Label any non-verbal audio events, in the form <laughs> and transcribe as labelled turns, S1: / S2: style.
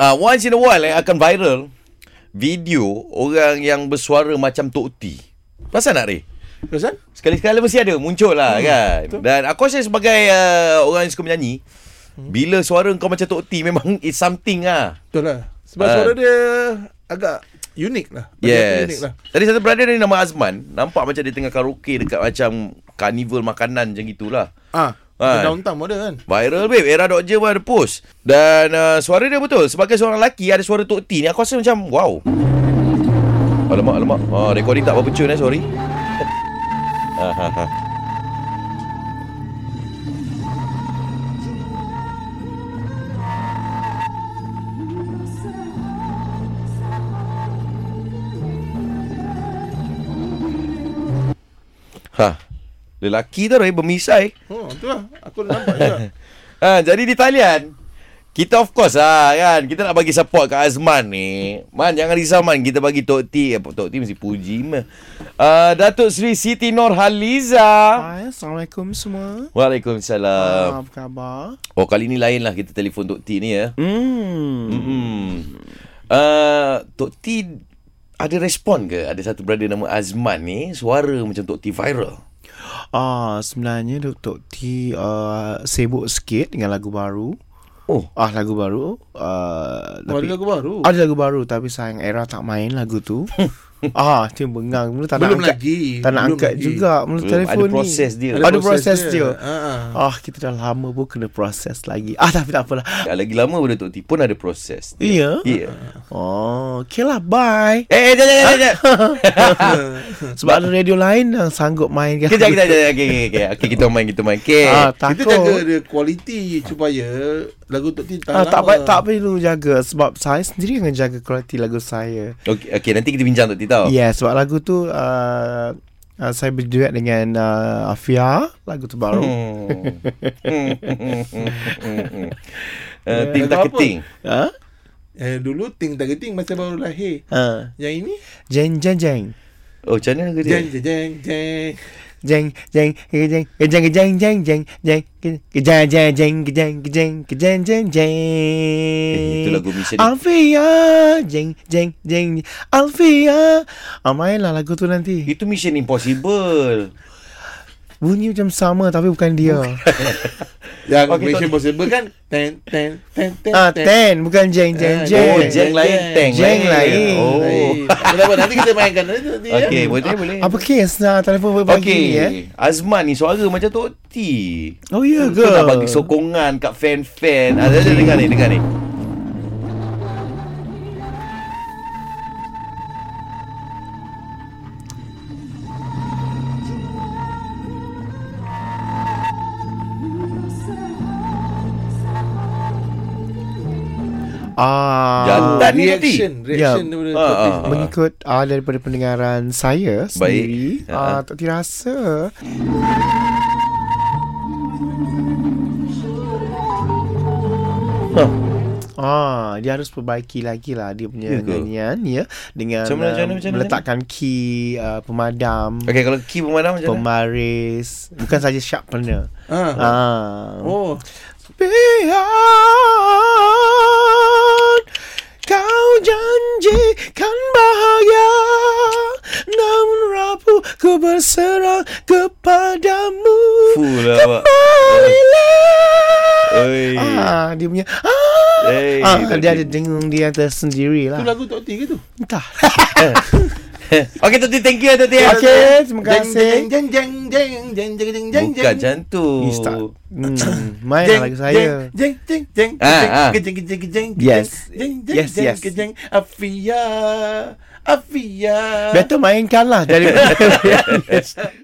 S1: Ah, once in a while yang akan viral video orang yang bersuara macam Tok T. Pasal nak Ray?
S2: Kenapa?
S1: Sekali-sekala mesti ada muncul lah hmm, kan. Betul. Dan aku rasa sebagai uh, orang yang suka menyanyi, hmm. bila suara kau macam Tok T memang it's something lah.
S2: Betul lah. Sebab
S1: Ah.
S2: suara dia agak unik lah. Bagi aku Unik
S1: Yes.
S2: lah.
S1: Tadi satu brother ni nama Azman, nampak macam dia tengah karaoke dekat macam karnival makanan macam gitulah.
S2: Ah,
S1: Ah.
S2: ha. downtown pun ada kan.
S1: Viral babe Era Dodger pun ada post Dan uh, suara dia betul Sebagai seorang lelaki Ada suara Tok T ni Aku rasa macam Wow Alamak alamak ah, Recording tak berapa cun eh sorry <laughs> Ah, ah, ah. Ha. Lelaki tu Ray bermisai
S2: Oh, tu lah. Aku nampak
S1: <laughs>
S2: juga.
S1: Ha, jadi di talian kita of course lah kan Kita nak bagi support kat Azman ni Man jangan risau Man Kita bagi Tok T eh, Tok T mesti puji man. Uh, Datuk Seri Siti Nurhaliza
S3: Hai, Assalamualaikum semua.
S1: Waalaikumsalam
S3: Uh, apa khabar?
S1: Oh kali ni lain lah Kita telefon Tok T ni ya
S3: Hmm.
S1: hmm. uh, Tok T ada respon ke? Ada satu brother nama Azman ni Suara macam Tok T viral
S3: Ah, sebenarnya Dr. T uh, sibuk sikit dengan lagu baru.
S1: Oh
S3: Ah, lagu baru. Uh,
S2: Oh, ada lagu baru.
S3: Ada lagu baru tapi sayang Era tak main lagu tu. ah, dia bengang. Mula tak
S2: Belum
S3: nak angkat.
S2: lagi.
S3: Tak nak
S2: Belum
S3: angkat
S2: lagi.
S3: juga. Mula
S1: Belum.
S3: telefon
S1: Ada
S3: ni.
S1: proses dia.
S3: Ada, proses dia.
S2: Ha, ha.
S3: Ah, kita dah lama pun kena proses lagi. Ah, tapi tak apalah.
S1: Lagi lama pada Tok T pun ada proses
S3: Ya. Yeah.
S1: Ya yeah.
S3: Oh, okay lah. Bye.
S1: Eh eh jangan jangan jangan
S2: Ah, <laughs>
S3: Sebab ada radio lain yang sanggup main.
S1: Kejap, kejap, kejap. Okey, okey, okey. Okey, kita main, Eh, kita main. Okey.
S3: Ah,
S2: Kita
S3: takut.
S2: jaga dia kualiti supaya lagu Tok Tin tak
S3: Ah,
S2: lama.
S3: tak, pa- tak perlu jaga sebab saya sendiri yang jaga kualiti lagu saya.
S1: Okey, okey, nanti kita bincang tu, Tito.
S3: Oh. Yeah, sebab lagu tu uh, uh, saya berduet dengan uh, Afia, lagu tu baru. Hmm.
S1: Hmm. Hmm, hmm, hmm, hmm, hmm. Eh, Ting
S2: Lagu
S1: tak
S2: apa?
S1: keting.
S3: Ha?
S2: Eh, dulu ting targeting masa baru lahir.
S3: Uh,
S2: Yang ini
S3: jeng jeng jeng.
S1: Oh, macam mana ke dia?
S2: jeng jeng jeng jeng.
S3: Jeng jeng jeng jeng jeng jeng jeng jeng jeng jeng jeng jeng jeng jeng jeng jeng
S1: Eh, itu lagu Mission
S3: Alfia jeng jeng jeng Alfia ah, mainlah lagu tu nanti
S1: Itu Mission Impossible.
S3: bunyi macam sama tapi bukan dia
S2: Yang
S1: Okey,
S2: okay, Mission
S1: Tok
S2: Impossible kan ten ten ten ten.
S3: ah ten bukan jeng
S2: Ah,
S3: jeng jeng
S1: Oh, Jeng lain, Teng
S3: Jeng lain.
S1: Oh.
S2: Kenapa nanti kita mainkan nanti Tok Tin, ya?
S1: Okey, boleh, boleh.
S3: Apa kes lah telefon boleh bagi
S1: Okey,
S3: ni eh?
S1: Azman ni suara macam Tok T.
S3: Oh ya
S1: Betul nak bagi sokongan kat fan-fan. Ah, Ada ada dengar ni, dengar ni.
S3: Ah,
S1: Jantan. Tan ni, Tok Tin.
S2: Reaction Reaction
S3: Ya.
S2: daripada
S1: Ah,
S2: Tok Tin
S1: ah,
S2: sendiri.
S3: Mengikut uh, daripada pendengaran saya sendiri
S1: Baik.
S3: uh,
S1: Ha.
S3: Tak dirasa
S1: Ha.
S3: Ah, dia harus perbaiki lagi lah dia punya
S1: Ya ke?
S3: nyanyian ya dengan
S1: Macam mana, macam mana,
S3: um,
S1: macam mana?
S3: meletakkan key uh, pemadam,
S1: Okey, kalau key pemadam macam mana?
S3: pemaris, bukan saja sharpener.
S2: Ah.
S3: Ah.
S2: Oh
S3: Biar kau janjikan bahagia Namun rapuh ku berserah kepadamu
S1: Fuh lah awak.
S2: Eh.
S3: Kembalilah
S1: Oi.
S3: Ah, dia punya ah,
S1: Hey,
S2: Eh,
S3: ah,
S1: tak
S3: dia
S1: ada.
S3: ada dengung dia tersendiri
S2: Tu
S3: lah
S2: lagu Tok Tin ke tu
S3: Entah
S1: <laughs>
S3: eh,
S1: Okey, Tok T, thank you, Tok T.
S3: Okay, terima
S2: Jeng
S3: kasih
S2: jeng jeng jeng jeng jeng jeng jeng jeng
S1: Bukan macam tu.
S3: Ni
S2: <clears throat>
S3: start hmm, Main lah lagu saya
S2: Oh. Jeng jeng jeng
S1: Ah,
S2: jeng
S1: ah.
S2: jeng jeng jeng jeng
S3: Yes.
S2: jeng jeng
S3: Yes,
S2: jeng
S3: yes.
S2: jeng jeng Afia Afia <laughs>
S3: Better mainkan lah daripada